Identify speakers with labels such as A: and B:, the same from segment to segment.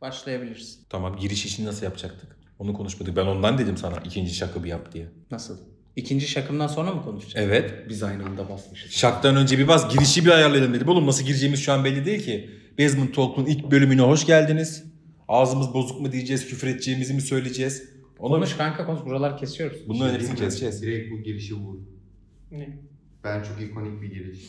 A: Başlayabilirsin.
B: Tamam giriş için nasıl yapacaktık? Onu konuşmadık. Ben ondan dedim sana ikinci şakı bir yap diye.
A: Nasıl? İkinci şakımdan sonra mı konuşacağız?
B: Evet.
A: Biz aynı anda basmışız.
B: Şaktan önce bir bas girişi bir ayarlayalım dedim. Oğlum nasıl gireceğimiz şu an belli değil ki. Basement Talk'un ilk bölümüne hoş geldiniz. Ağzımız bozuk mu diyeceğiz, küfür edeceğimizi mi söyleyeceğiz? Ona
A: Konuş kanka konuş. Buralar kesiyoruz.
B: Bunların hepsini keseceğiz.
C: Direkt bu girişi vur.
A: Ne?
C: Ben çok ikonik bir giriş.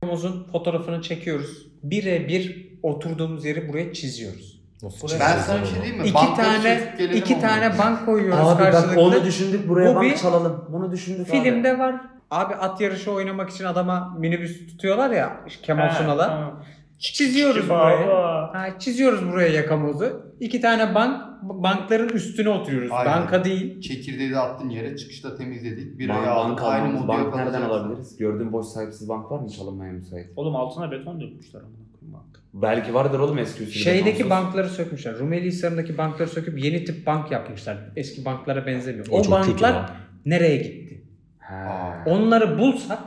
A: Konumuzun fotoğrafını çekiyoruz. Birebir oturduğumuz yeri buraya çiziyoruz.
B: Nasıl
A: Buraya-
C: Ben
B: çizeceğiz
C: sana bir
B: onu?
C: şey diyeyim mi?
A: İki
C: Bankları
A: tane
C: çekip gelelim
A: iki
C: onunla.
A: tane bank koyuyoruz
D: Abi bak
A: karşılıklı.
D: onu düşündük buraya
A: Bu
D: bak
A: bir-
D: çalalım. Bunu düşündük abi.
A: Filmde var. Abi at yarışı oynamak için adama minibüs tutuyorlar ya Kemal Sunal'a. Çiziyoruz buraya. Ha, çiziyoruz buraya yakamozu. İki tane bank, bankların üstüne oturuyoruz.
C: Aynen.
A: Banka değil.
C: Çekirdeği de attın yere çıkışta temizledik. Bir
E: Bank,
C: ayı
E: bank,
C: aldık aynı
E: almamız-
C: modda
E: bank nereden
C: yakalayacağız.
E: alabiliriz? Gördüğün boş sahipsiz bank var mı çalınmaya müsait?
F: Oğlum altına beton dökmüşler amına koyayım bak.
E: Belki vardır oğlum eski usulü.
A: Şeydeki
E: betonsuz.
A: bankları sökmüşler. Rumeli Hisarı'ndaki bankları söküp yeni tip bank yapmışlar. Eski banklara benzemiyor. O,
B: O çok kötü
A: banklar
B: lan.
A: nereye gitti?
E: He.
A: Onları bulsak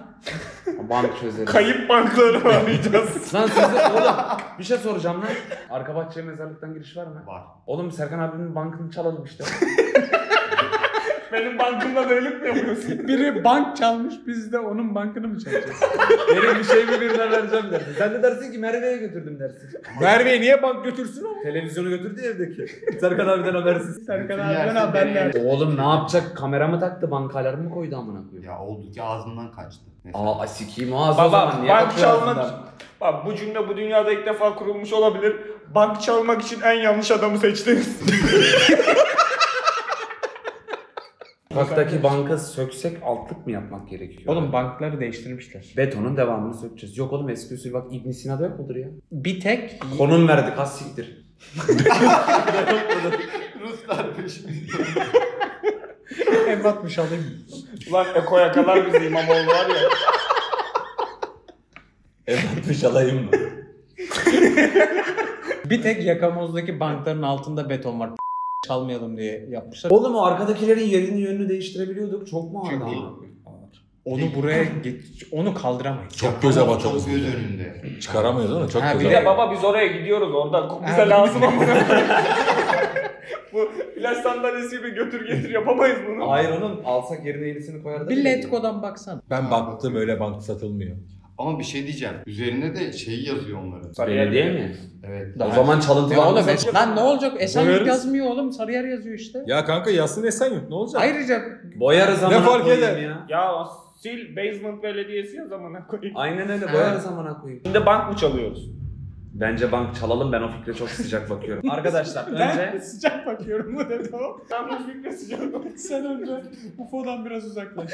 E: O bank çözeriz.
F: Kayıp bankları arayacağız.
E: Lan sizde oğlum bir şey soracağım lan. Arka bahçeye mezarlıktan giriş var mı?
C: Var.
E: Oğlum Serkan abinin bankını çalalım işte.
F: Benim bankımda delilik mi yapıyorsun?
A: biri bank çalmış biz de onun bankını mı çalacağız?
E: Benim bir şey mi birine vereceğim dersin. Sen de dersin ki Merve'ye götürdüm dersin.
A: Merve'yi niye bank götürsün oğlum?
E: Televizyonu götürdü ya evdeki. Serkan abiden habersiz.
A: Serkan
C: Bütün
A: abiden
C: yersin
A: haberler.
E: Oğlum ne yapacak? Kamera mı taktı? Banka alarmı koydu amına koyayım?
C: Ya oldu ki ağzımdan kaçtı. Neyse.
E: Aa sikiyim ağzı o
F: Baba
E: zaman. Niye
F: bank
E: bakıyor
F: çalmak...
E: ağzından?
F: Bak bu cümle bu dünyada ilk defa kurulmuş olabilir. Bank çalmak için en yanlış adamı seçtiniz.
E: Sokaktaki banka söksek altlık mı yapmak gerekiyor?
A: Oğlum bankları değiştirmişler.
E: Betonun devamını sökeceğiz. Yok oğlum eski usul bak İbn Sina'da yok mudur ya?
A: Bir tek
E: Konum verdik az siktir.
C: Ruslar peşimizde.
A: ebatmış alayım.
F: Ulan Eko yakalar bizi İmamoğlu var ya.
E: Evet alayım mı?
A: Bir tek yakamozdaki bankların altında beton var. Çalmayalım diye yapmışlar.
E: Oğlum o arkadakilerin yerini yönünü değiştirebiliyorduk. Çok mu ağır
C: Çünkü
E: aldın?
A: Onu buraya geç, onu kaldıramayız.
B: Çok göze batalım.
C: Çok göz önünde.
B: Çıkaramıyoruz ama çok
A: Ha,
B: göze
A: bir
F: Bir
A: de
F: de
B: batalım.
F: baba biz oraya gidiyoruz orada.
A: Abi.
F: Bize lazım amına. bu ilaç sandalyesi gibi götür getir yapamayız bunu.
E: Hayır oğlum alsak yerine yenisini koyardık.
A: Bir Letgo'dan baksana.
B: Ben baktım öyle bank satılmıyor.
C: Ama bir şey diyeceğim. Üzerinde de şeyi yazıyor onların.
E: Belediye mi?
C: Evet.
A: Daha-
E: O zaman
A: Ya oğlum,
E: çalıntılarımız...
A: es- lan ne olacak? Esenyurt
B: Boyarız.
A: yazmıyor oğlum. Sarıyer yazıyor işte.
B: Ya kanka yazsın Esenyurt ne olacak?
A: Ayrıca
E: Boyarız
B: Ne
E: amına
B: fark eder?
E: koyayım ya.
F: Ya sil basement belediyesi yaz amına koyayım.
E: Aynen öyle
A: Ha.
E: boyarız amına koyayım.
F: Şimdi bank mı çalıyoruz?
E: Bence bank çalalım ben o fikre çok sıcak bakıyorum. Arkadaşlar önce
F: sıcak bakıyorum bu dedi o. Ben bu fikre sıcak bakıyorum. Sen önce UFO'dan biraz uzaklaş.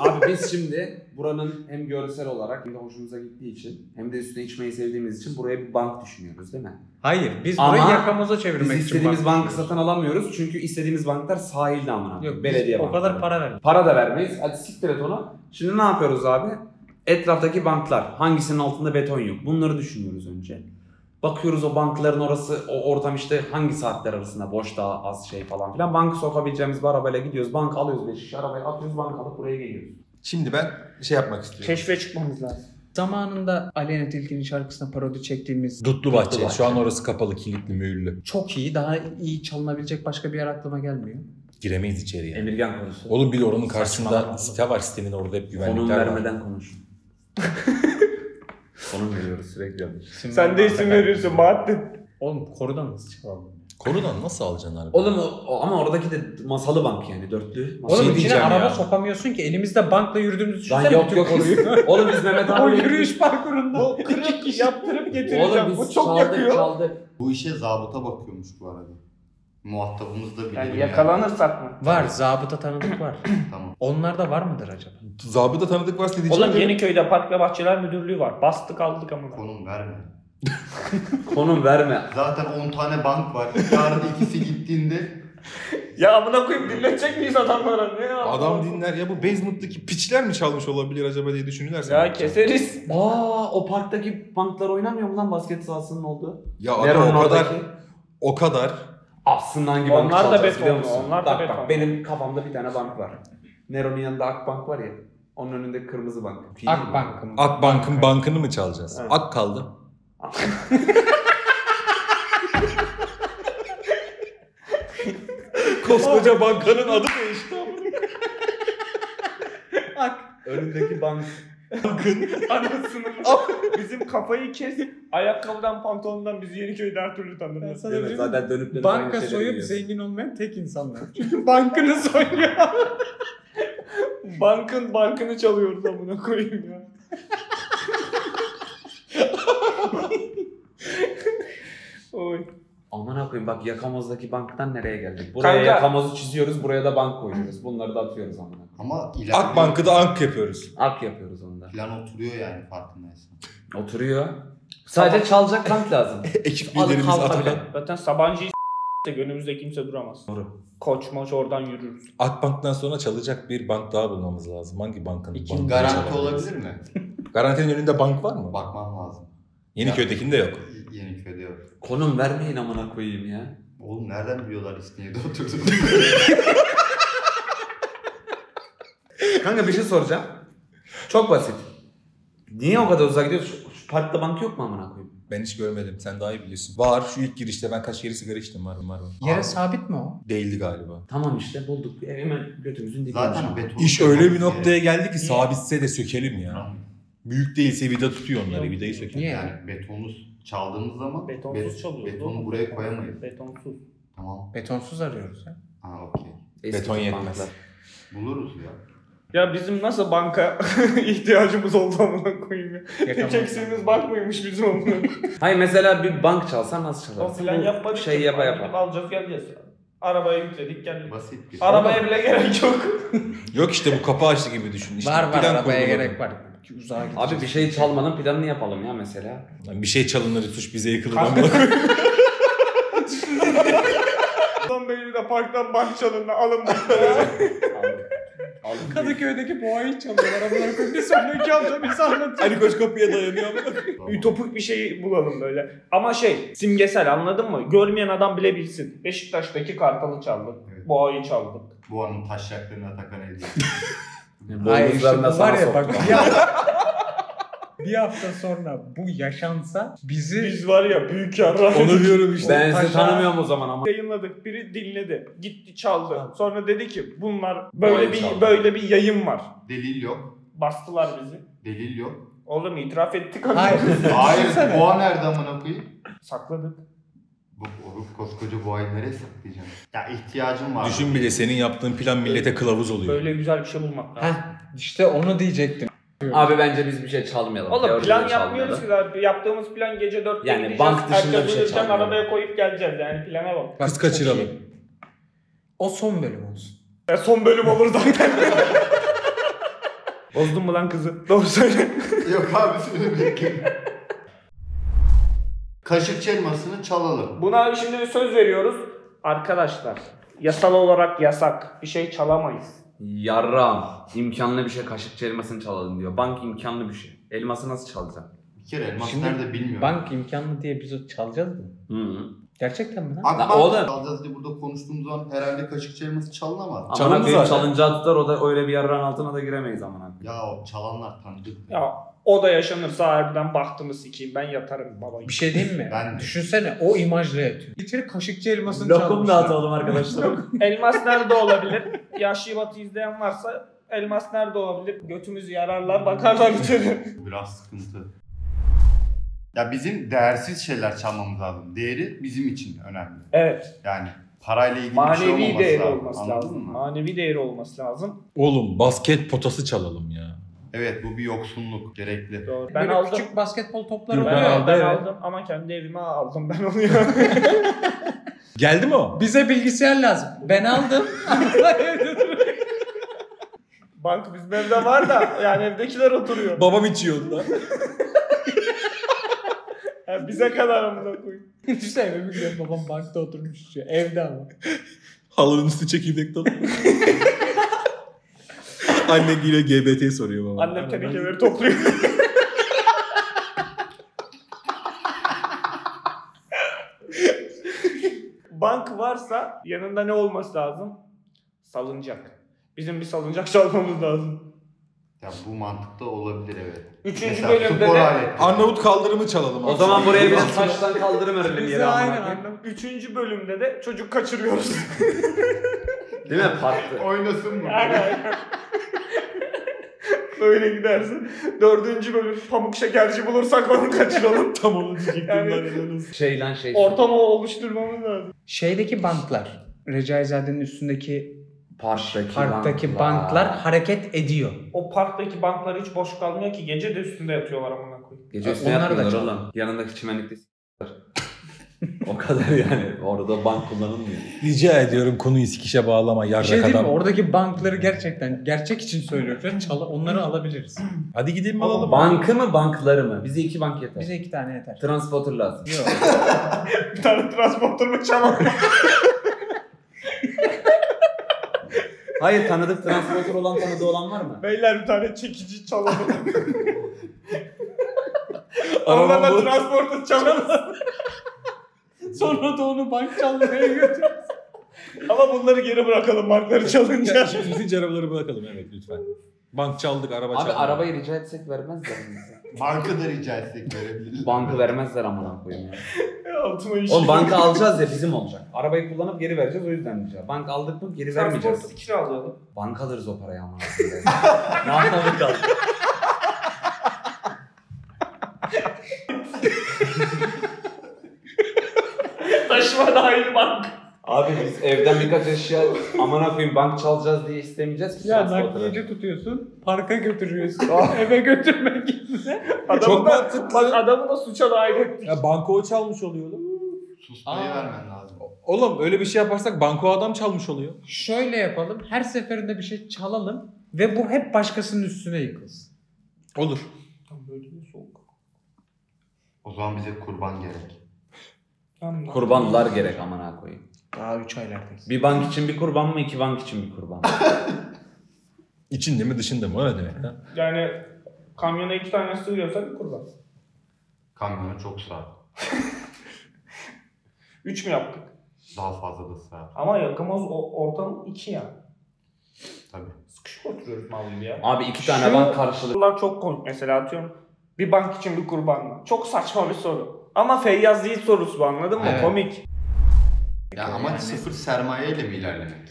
E: Abi biz şimdi buranın hem görsel olarak hem de hoşumuza gittiği için hem de üstüne içmeyi sevdiğimiz için buraya bir bank düşünüyoruz değil mi?
A: hayır biz
E: Ama
A: burayı yakamoza çevirmek
E: Biz
A: için
E: istediğimiz
A: bank-
E: bank satın alamıyoruz çünkü istediğimiz banklar sahilde amına.
A: Yok
E: koyayım,
A: biz
E: belediye
A: o kadar
E: bankları.
A: para vermiyor.
E: Para da vermeyiz. Hadi siktir et onu. Şimdi ne yapıyoruz abi? Etraftaki banklar hangisinin altında beton yok? Bunları düşünüyoruz önce. Bakıyoruz o bankların orası, o ortam işte hangi saatler arasında boş daha az şey falan filan. Bank sokabileceğimiz bir arabayla gidiyoruz. Bank alıyoruz 5 şişe arabayı atıyoruz bank alıp buraya geliyoruz.
B: Şimdi ben şey yapmak istiyorum.
F: Keşfe çıkmamız lazım.
A: Zamanında Aleyna Tilki'nin şarkısına parodi çektiğimiz
B: Dutlu bahçe.
E: Dutlu bahçe.
B: Şu an orası kapalı, kilitli, mühürlü.
A: çok iyi, daha iyi çalınabilecek başka bir yer aklıma gelmiyor.
B: Giremeyiz içeriye.
E: Emirgen konusu.
B: Oğlum bir de oranın karşısında
E: Saçmalama.
B: site var. Sitenin orada hep
E: Konum
B: güvenlikler var.
E: vermeden konuş. Konum veriyoruz sürekli.
F: Sen de isim veriyorsun Bahattin.
A: Oğlum korudan nasıl çalalım?
B: Korudan nasıl alacaksın abi?
E: Oğlum o- o- ama oradaki de masalı bank yani dörtlü.
B: Şey
A: Oğlum içine
B: diyeceğim
A: araba
B: ya.
A: sokamıyorsun ki elimizde bankla yürüdüğümüzü
E: Lan
A: düşünsene
E: yok
A: bütün
E: yok.
A: koruyu.
E: Oğlum biz Mehmet abi.
A: o yürüyüş parkurunda.
F: Kırık kişi şey yaptırıp getireceğim.
E: Oğlum biz
F: Bu çok
E: çaldık
F: yakıyor.
E: çaldık.
C: Bu işe zabıta bakıyormuş bu arada. Muhatabımız da bilir.
F: Yani yakalanırsak mı?
A: Var, zabıta tanıdık var.
C: Tamam.
A: Onlarda var mıdır acaba?
B: Zabıta tanıdık varsa diyeceğim.
F: Oğlum Yeniköy'de Park ve Bahçeler Müdürlüğü var. Bastık aldık ama.
C: Konum verme.
E: Konum verme.
C: Zaten 10 tane bank var. Yarın ikisi gittiğinde
F: Ya amına koyayım dinletecek miyiz adamlara? Ne ya?
B: Adam dinler ya bu basement'taki piçler mi çalmış olabilir acaba diye düşünürlerse.
F: Ya keseriz.
E: Aa o parktaki banklar oynamıyor mu lan basket sahasının olduğu?
B: Ya
E: Nero'nun
B: adam o kadar
E: oradaki.
B: o kadar
E: Aslında hangi
F: Onlar
E: bank
F: da
E: çalacağız
F: betonlu,
E: biliyor musun?
F: onlar da
E: bak,
F: betonlu.
E: Bak benim kafamda bir tane bank var. Nero'nun yanında Akbank var ya. Onun önünde kırmızı bank. Fiil mi?
A: Akbank mı?
B: Akbank'ın bankını mı çalacağız?
E: Evet.
B: Ak kaldı. Koskoca bankanın adı değişti.
E: Önündeki bank.
F: Anasını. Bizim kafayı kes. Ayakkabıdan pantolondan bizi Yeniköy'de her türlü tanırlar.
A: Ben sana şey
E: Değil mi?
A: diyeyim mi?
E: Zaten dönüp dönüp aynı
A: Banka
E: şeyleri
A: soyup
E: yiyorsun.
A: zengin olmayan tek insanlar. Çünkü bankını soyuyor.
F: Bankın bankını çalıyoruz amına koyayım ya. Oy.
E: Aman koyayım bak yakamozdaki banktan nereye geldik? Buraya
F: Kanka.
E: yakamozu çiziyoruz, buraya da bank koyuyoruz. Bunları da atıyoruz amına.
C: Ama ilerliyor.
B: Akbank'ı da ank yapıyoruz.
E: Ak yapıyoruz onda.
C: Plan oturuyor yani farkındaysan.
E: Oturuyor. Sadece çalacak bank lazım.
B: Ekip
E: Alıp
B: liderimiz
E: kalka
B: Atakan.
E: bile.
F: Zaten Sabancı'yı s**tse gönümüzde kimse duramaz.
E: Doğru.
F: Koç moç oradan yürürüz.
B: Akbank'tan sonra çalacak bir bank daha bulmamız lazım. Hangi bankanın?
A: İkinci
B: bankını
C: Garanti
B: çalabiliriz?
C: olabilir mi?
B: Garantinin önünde bank var mı?
C: Bakmam lazım.
B: Yeniköy'dekinde yok.
C: Yeniköy'de yok.
E: Konum vermeyin amına koyayım ya.
C: Oğlum nereden biliyorlar İstinye'de oturdun?
E: Kanka bir şey soracağım. Çok basit. Niye o kadar uzağa gidiyoruz? Şu, şu parkta bank yok mu amına koyayım?
B: Ben hiç görmedim. Sen daha iyi biliyorsun. Var şu ilk girişte ben kaç kere sigara içtim var mı var mı?
A: Yere sabit mi o?
B: Değildi galiba.
E: Tamam işte bulduk. E, hemen götümüzün dibine.
C: Zaten
E: düşen.
C: beton.
B: İş öyle bir noktaya geldi ki
A: Niye?
B: sabitse de sökelim ya. Büyük değilse vida tutuyor onları. Vidayı sökelim.
A: Niye?
C: Yani betonsuz çaldığımız zaman
F: Betonsuz çalıyoruz.
C: Betonu
F: oğlum.
C: buraya Şey koyamayız.
F: Betonsuz.
C: Tamam.
A: Betonsuz arıyoruz ya.
C: Ha okey.
E: Eski
B: Beton yetmez.
E: banklar.
C: Buluruz ya.
F: Ya bizim nasıl banka ihtiyacımız oldu amına koyayım ya. Hiç eksiğimiz bakmıyormuş bizim amına koyayım.
E: Hayır mesela bir bank çalsan nasıl
F: O
E: çalarsın?
F: plan
E: Bu
F: yapmadık.
E: Şey
F: ki.
E: yapa
F: Gidip
E: yapa.
F: Alacağız geleceğiz. Arabaya yükledik geldik.
C: Basit bir
F: Arabaya bile gerek yok.
B: Yok işte bu kapı açtı gibi düşün. İşte
A: var var
B: plan
A: arabaya
B: kurguladım.
A: gerek var. Uzağa gideceğiz.
E: Abi bir şey çalmanın planını yapalım ya mesela.
B: Lan bir şey çalınır suç bize yıkılır.
F: Kanka-
B: amına koyayım.
F: Ulan beni de parktan bank çalındı alın.
E: Alın.
A: Kadıköy'deki boğayı çalıyorlar. Arabaları koyup bir sonraki hafta biz anlatıyoruz.
B: Ali Koç kapıya dayanıyor. amına koyayım.
F: Ütopik bir şey bulalım böyle. Ama şey simgesel anladın mı? Görmeyen adam bile bilsin. Beşiktaş'taki Kartal'ı çaldık.
C: Evet.
F: Boğa'yı çaldık.
C: Bu anın taşraklarını Atakan ediyor.
E: Yani
A: Hayır işte bu
E: boynuzlarına
A: var
E: sana
A: ya
E: sok.
A: bak bir hafta, bir hafta sonra bu yaşansa bizi
F: Biz var ya büyük yarra.
B: Onu diyorum işte.
E: Ben
A: Taşa-
E: sizi tanımıyorum o zaman ama.
F: yayınladık. Biri dinledi. Gitti çaldı. Sonra dedi ki bunlar böyle
E: Boğa'yı
F: bir
E: çaldı.
F: böyle bir yayın var.
C: Delil yok.
F: Bastılar bizi.
C: Delil yok.
F: Oğlum itiraf ettik ama
A: Hayır.
C: Hayır. Boğa nerede amına koyayım?
F: sakladık.
C: Bu, bu koskoca boğayı nereye saklayacağım? Ya ihtiyacım var.
B: Düşün bile senin yaptığın plan millete kılavuz oluyor.
F: Böyle güzel bir şey bulmak lazım.
A: Heh, işte onu diyecektim.
E: Abi bence biz bir şey çalmayalım.
F: Oğlum
E: Teoride
F: plan
E: de çalmayalım.
F: yapmıyoruz ki zaten. Yaptığımız plan gece 4'te
E: Yani
F: gideceğiz.
E: bank dışında bir
F: erken
E: şey
F: uyurken
E: çalmıyor.
F: arabaya koyup geleceğiz yani plana bak.
A: Bak,
B: Kız
A: çok
B: kaçıralım.
A: iyi. O son bölüm olsun.
F: E, son bölüm olur zaten. Bozdun mu lan kızı? Doğru söyle.
C: yok abi söyleyeyim. Kaşıkçı elmasını çalalım.
F: Buna şimdi bir söz veriyoruz. Arkadaşlar yasal olarak yasak. Bir şey çalamayız.
E: Yarram. İmkanlı bir şey kaşıkçı elmasını çalalım diyor. Bank imkanlı bir şey. Elması nasıl çalacaksın?
C: Bir kere elmas
A: Şimdi
C: nerede bilmiyorum.
A: Bank imkanlı diye biz o çalacağız mı?
E: Hı hı.
A: Gerçekten mi lan?
C: Akbank
E: Lan oğlum.
C: çalacağız diye burada konuştuğumuz zaman herhalde kaşıkçı elması çalınamaz.
E: Ama
B: Çalındı
E: benim
B: zaten.
E: çalıncağı tutar o da öyle bir yarran altına da giremeyiz aman
C: Ya o çalanlar tanıdık.
F: Ya o da yaşanırsa harbiden bahtımı sikeyim ben yatarım babayı.
A: Bir şey diyeyim mi?
C: Ben de.
A: Düşünsene o imajla yatıyor. İçeri kaşıkçı elmasını
E: Lokum
A: çalmışlar.
E: dağıtalım arkadaşlar.
F: Elmas nerede olabilir? Yaşlı Batı izleyen varsa elmas nerede olabilir? Götümüzü yararlar bakarlar içeri.
C: Biraz sıkıntı. Ya bizim değersiz şeyler çalmamız lazım. Değeri bizim için önemli.
F: Evet.
C: Yani parayla ilgili bir şey
F: Manevi
C: olmaması
F: değeri
C: lazım.
F: olması
C: Anladın
F: lazım.
C: mı?
F: Manevi değeri olması lazım.
B: Oğlum basket potası çalalım ya.
C: Evet bu bir yoksunluk gerekli.
F: Doğru. Ben
A: Böyle
F: aldım.
A: küçük basketbol topları
B: Yok,
A: var
F: Ben,
B: Ben
A: ya.
B: aldım,
F: aldım, ben
B: evet.
F: aldım ama kendi evime aldım ben onu ya.
B: Geldi mi o?
A: Bize bilgisayar lazım. Ben aldım.
F: Bank bizim evde var da yani evdekiler oturuyor.
B: Babam içiyordu da.
F: Yani bize kadar amına koyayım.
A: Düşünsene benim gidiyorum babam bankta oturmuş içiyor. Evde ama.
B: Halının üstü çekirdek dolu. Anne giriyor GBT soruyor baba.
F: Annem tenekeleri topluyor. Bank varsa yanında ne olması lazım? Salıncak. Bizim bir salıncak çalmamız lazım.
C: Ya bu mantıkta olabilir evet.
F: Üçüncü
C: Mesela
F: bölümde
C: spor
F: de-
C: aletleri.
B: Arnavut kaldırımı çalalım.
E: O
B: abi.
E: zaman buraya biraz saçtan kaldırım örelim
A: Bizi
E: yere amına
A: aynen
E: koyayım.
A: anladım.
F: Üçüncü bölümde de çocuk kaçırıyoruz.
E: Değil mi? Pattı.
C: Oynasın mı?
F: Aynen. Böyle gidersin. Dördüncü bölüm pamuk şekerci bulursak onu kaçıralım.
B: Tam onu diyecektim
F: Yani-
B: ben.
E: Şey lan şey.
F: Ortamı oluşturmamız lazım.
A: Şeydeki banklar, Recaizade'nin üstündeki
E: Parktaki,
A: parktaki banklar hareket ediyor.
F: O parktaki banklar hiç boş kalmıyor ki. Gece de üstünde yatıyorlar amına koyayım.
E: Gece
A: Ha,
E: üstüne
A: onlar da
E: yatmıyorlar
A: çok-
E: oğlum. Yanındaki çimenlikte s**ler. o kadar yani. Orada bank kullanılmıyor.
B: Rica ediyorum konuyu sikişe bağlama
A: Bir
B: yarrak
A: şey diyeyim mi?
B: adam.
A: Oradaki bankları gerçekten gerçek için söylüyorum. Çal- onları alabiliriz.
B: Hadi gidelim alalım.
E: Bankı mı bankları mı? Bize iki bank yeter.
A: Bize iki tane yeter.
E: Transporter lazım.
A: Yok.
F: Bir tane transporter mı çalalım?
E: Hayır tanıdık transporter olan tanıdığı olan var mı?
F: Beyler bir tane çekici çalalım.
B: Arabam
F: Onlarla
B: bu.
F: transporter çalalım.
A: Sonra da onu bank çalmaya götür.
F: Ama bunları geri bırakalım markları çalınca.
B: Şimdi arabaları bırakalım evet lütfen. Bank çaldık araba
E: Abi
B: çaldık.
E: arabayı rica etsek vermezler mi bize?
C: Marka da rica etsek verebiliriz.
E: Bankı vermezler amına koyayım ya.
F: Altıma işi.
E: Oğlum banka alacağız ya bizim olacak. Arabayı kullanıp geri vereceğiz o yüzden rica. Bank aldık mı geri vermeyeceğiz.
F: Transporter kiralayalım.
E: Bank alırız o parayı amına koyayım. ne anlamı kaldı?
F: Taşıma dahil bank.
E: Abi biz evden birkaç eşya amına koyayım bank çalacağız diye istemeyeceğiz ki.
A: Ya
E: transporter'ı.
A: nakliyeci tutuyorsun, parka götürüyorsun.
C: Ah.
A: Eve götürmek yerine.
F: Adamı da,
B: mantıklı.
F: bak adamı da suça dahil ettik.
B: Ya banko o çalmış oluyor oğlum.
C: Susmayı vermen lazım.
B: Oğlum öyle bir şey yaparsak banko adam çalmış oluyor.
A: Şöyle yapalım, her seferinde bir şey çalalım ve bu hep başkasının üstüne yıkılsın.
B: Olur.
F: Tam böyle bir soğuk.
C: O zaman bize kurban gerek.
F: Tam da-
E: Kurbanlar gerek amına koyayım.
A: Daha 3 aylardayız.
E: Bir bank için bir kurban mı iki bank için bir kurban mı?
B: İçinde mi dışında mı o ne demek lan?
F: Yani kamyona iki tane sığıyorsa bir kurban.
C: Kamyona çok sığar.
F: Üç mü yaptık?
C: Daha fazla da sığar.
F: Ama yakamaz o ortam iki ya.
C: Tabii.
F: Sıkışık oturuyoruz mal gibi ya.
E: Abi iki tane
F: Şu-
E: bank karşılığı.
F: Bunlar çok komik mesela atıyorum. Bir bank için bir kurban mı? Çok saçma bir soru. Ama Feyyaz değil sorusu bu anladın mı?
C: Evet.
F: Komik.
C: Ya amaç sıfır sermayeyle mi ilerlemek?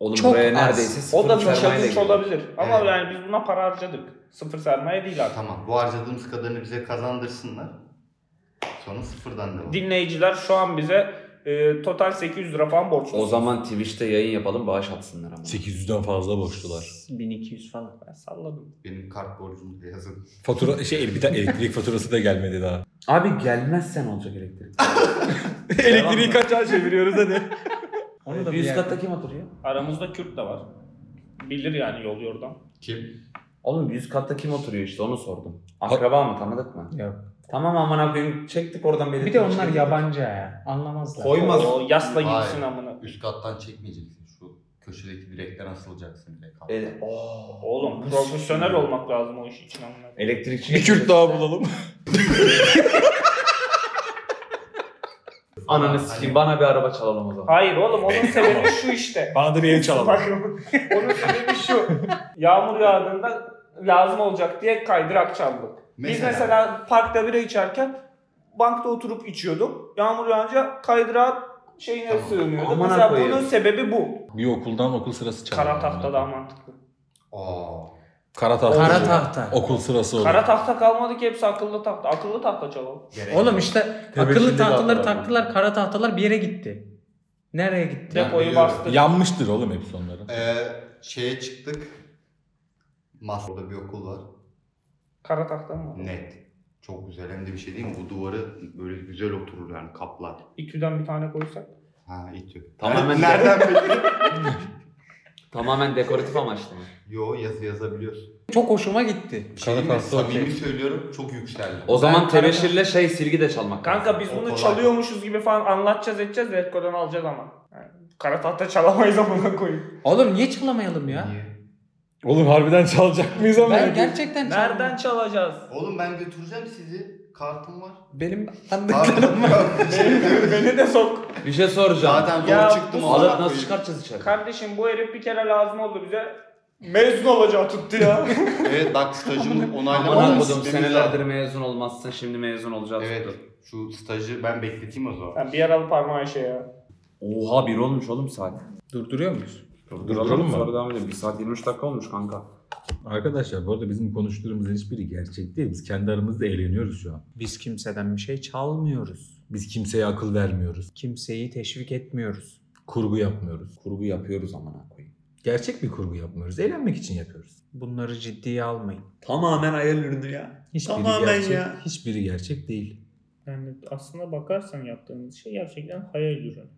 E: Oğlum
A: Çok
E: buraya
A: az.
E: neredeyse sıfır
F: O da
E: sermayeyle
F: dışarıdış
E: geliyor.
F: olabilir. Ama
C: Evet.
F: yani biz buna para harcadık. Sıfır sermaye değil artık.
C: Tamam bu harcadığımız kadarını bize kazandırsınlar. Sonra sıfırdan devam.
F: Dinleyiciler şu an bize e, total 800 lira falan borçlu.
E: O zaman Twitch'te yayın yapalım bağış atsınlar ama.
B: 800'den fazla borçlular.
A: 1200 falan.
F: Ben salladım.
C: Benim kart borcumu da yazın.
B: Fatura şey bir tane elektrik faturası da gelmedi daha.
E: Abi gelmezsen olacak elektrik.
B: Elektriği kaçağa çeviriyoruz hadi.
A: Onu da
E: Ee, bir
A: bir
E: üst
A: yerde-
E: katta kim oturuyor?
F: Aramızda Kürt de var. Bilir yani yol yordan.
C: Kim?
E: Oğlum bir üst katta kim oturuyor işte onu sordum. Akraba mı tanıdık mı?
A: Yok.
E: Tamam aman koyayım çektik oradan şey. belirttik.
A: Bir de onlar yabancı ya. Anlamazlar.
E: Koymaz.
F: O yasla
C: Hayır.
F: gitsin amına.
C: Üst kattan çekmeyeceksin. Şu köşedeki direkten asılacaksın direkt. abi.
E: E, oo.
F: Oğlum profesyonel olmak lazım o iş için amına.
E: Elektrikçi.
B: Bir Kürt daha bulalım.
E: Ananı sikeyim bana bir araba çalalım o zaman.
F: Hayır oğlum onun sebebi şu işte.
B: Bana da bir ev çalalım.
F: Bak, onun sebebi şu. Yağmur yağdığında lazım olacak diye kaydırak çaldık. Biz
C: Mesela.
F: mesela parkta bira içerken bankta oturup içiyordum. Yağmur yağınca kaydırağa şeyine
C: Tamam.
F: sığınıyordum.
E: Amına
F: mesela
E: koyayım.
F: bunun sebebi bu.
B: Bir okuldan okul sırası çalalım.
F: Kara tahta daha mantıklı.
C: Aa.
B: Kara tahta.
A: Kara tahta.
B: Okul sırası olur.
F: Kara tahta kalmadı ki hepsi akıllı tahta. Akıllı tahta çalalım.
C: gerek
A: Oğlum
C: yok.
A: işte
B: Tebeşirli
A: akıllı tahtaları
B: tahtalar.
A: taktılar, kara tahtalar bir yere gitti. Nereye gitti?
C: Ben
F: Depoyu
C: biliyorum.
F: bastı.
B: Yanmıştır oğlum hepsi onların.
C: Ee, şeye çıktık. Masada bir okul var.
F: Kara tahta mı? var?
C: Net. Çok güzel. Hem de bir şey değil mi? Bu duvarı böyle güzel oturur yani kaplar.
F: İTÜ'den bir tane koysak.
C: Ha itiyor.
E: Tamamen-
C: Nereden belli?
E: Tamamen dekoratif amaçlı mı?
C: Yo yazı yazabiliyorsun.
A: Çok hoşuma gitti.
C: Bir Şey değil mi?
B: Kara tahta
C: Samimi söylüyorum çok yükseldi.
E: O zaman
F: Ben-
E: tebeşirle şey silgi de çalmak.
F: Kanka
E: lazım.
F: biz
C: O
F: bunu
C: kolay.
F: çalıyormuşuz gibi falan anlatacağız edeceğiz de Ekko'dan alacağız ama. Yani kara tahta çalamayız amına koyayım.
A: Oğlum niye çalamayalım ya?
C: Niye?
B: Oğlum harbiden çalacak mıyız ama?
A: Ben gerçekten çalamam.
F: Nereden çalacağız?
C: Oğlum ben götüreceğim sizi. Kartım var.
A: Benim
C: Kartım
A: tanıdıklarım var.
C: var.
F: Beni de sok.
E: bir şey soracağım.
C: Zaten
F: Ya
C: zor çıktım.
F: bu
C: amına
E: Alıp nasıl
C: koyayım.
E: çıkartacağız içeri?
F: Kardeşim bu herif bir kere lazım oldu bize.
G: Mezun olacağı tuttu ya.
C: Evet bak stajımı
E: Aman
C: onaylama
E: okudum
C: sistemi
E: senelerdir
C: var.
E: mezun olmazsın şimdi mezun olacaksın.
C: Evet şu stajı ben bekleteyim o zaman.
G: Yani bir yaralı parmağı şey ya.
E: Oha bir olmuş oğlum saat.
A: Durduruyor muyuz?
H: Durduralım mı?
E: Sonra devam edelim. 1 saat 23 dakika olmuş kanka.
B: Arkadaşlar bu arada bizim konuştuğumuzun hiçbiri gerçek değil. Biz kendi aramızda eğleniyoruz şu an.
A: Biz kimseden bir şey çalmıyoruz.
B: Biz kimseye akıl vermiyoruz.
A: Kimseyi teşvik etmiyoruz.
B: Kurgu yapmıyoruz.
E: Kurgu yapıyoruz amına koyayım.
B: Gerçek bir kurgu yapmıyoruz. Eğlenmek için yapıyoruz.
A: Bunları ciddiye almayın.
E: Tamamen hayal ürünü ya.
B: Hiçbiri
E: Tamamen
B: gerçek,
E: ya.
B: Hiçbiri gerçek değil.
F: Yani aslına bakarsan yaptığınız şey gerçekten hayal ürünü.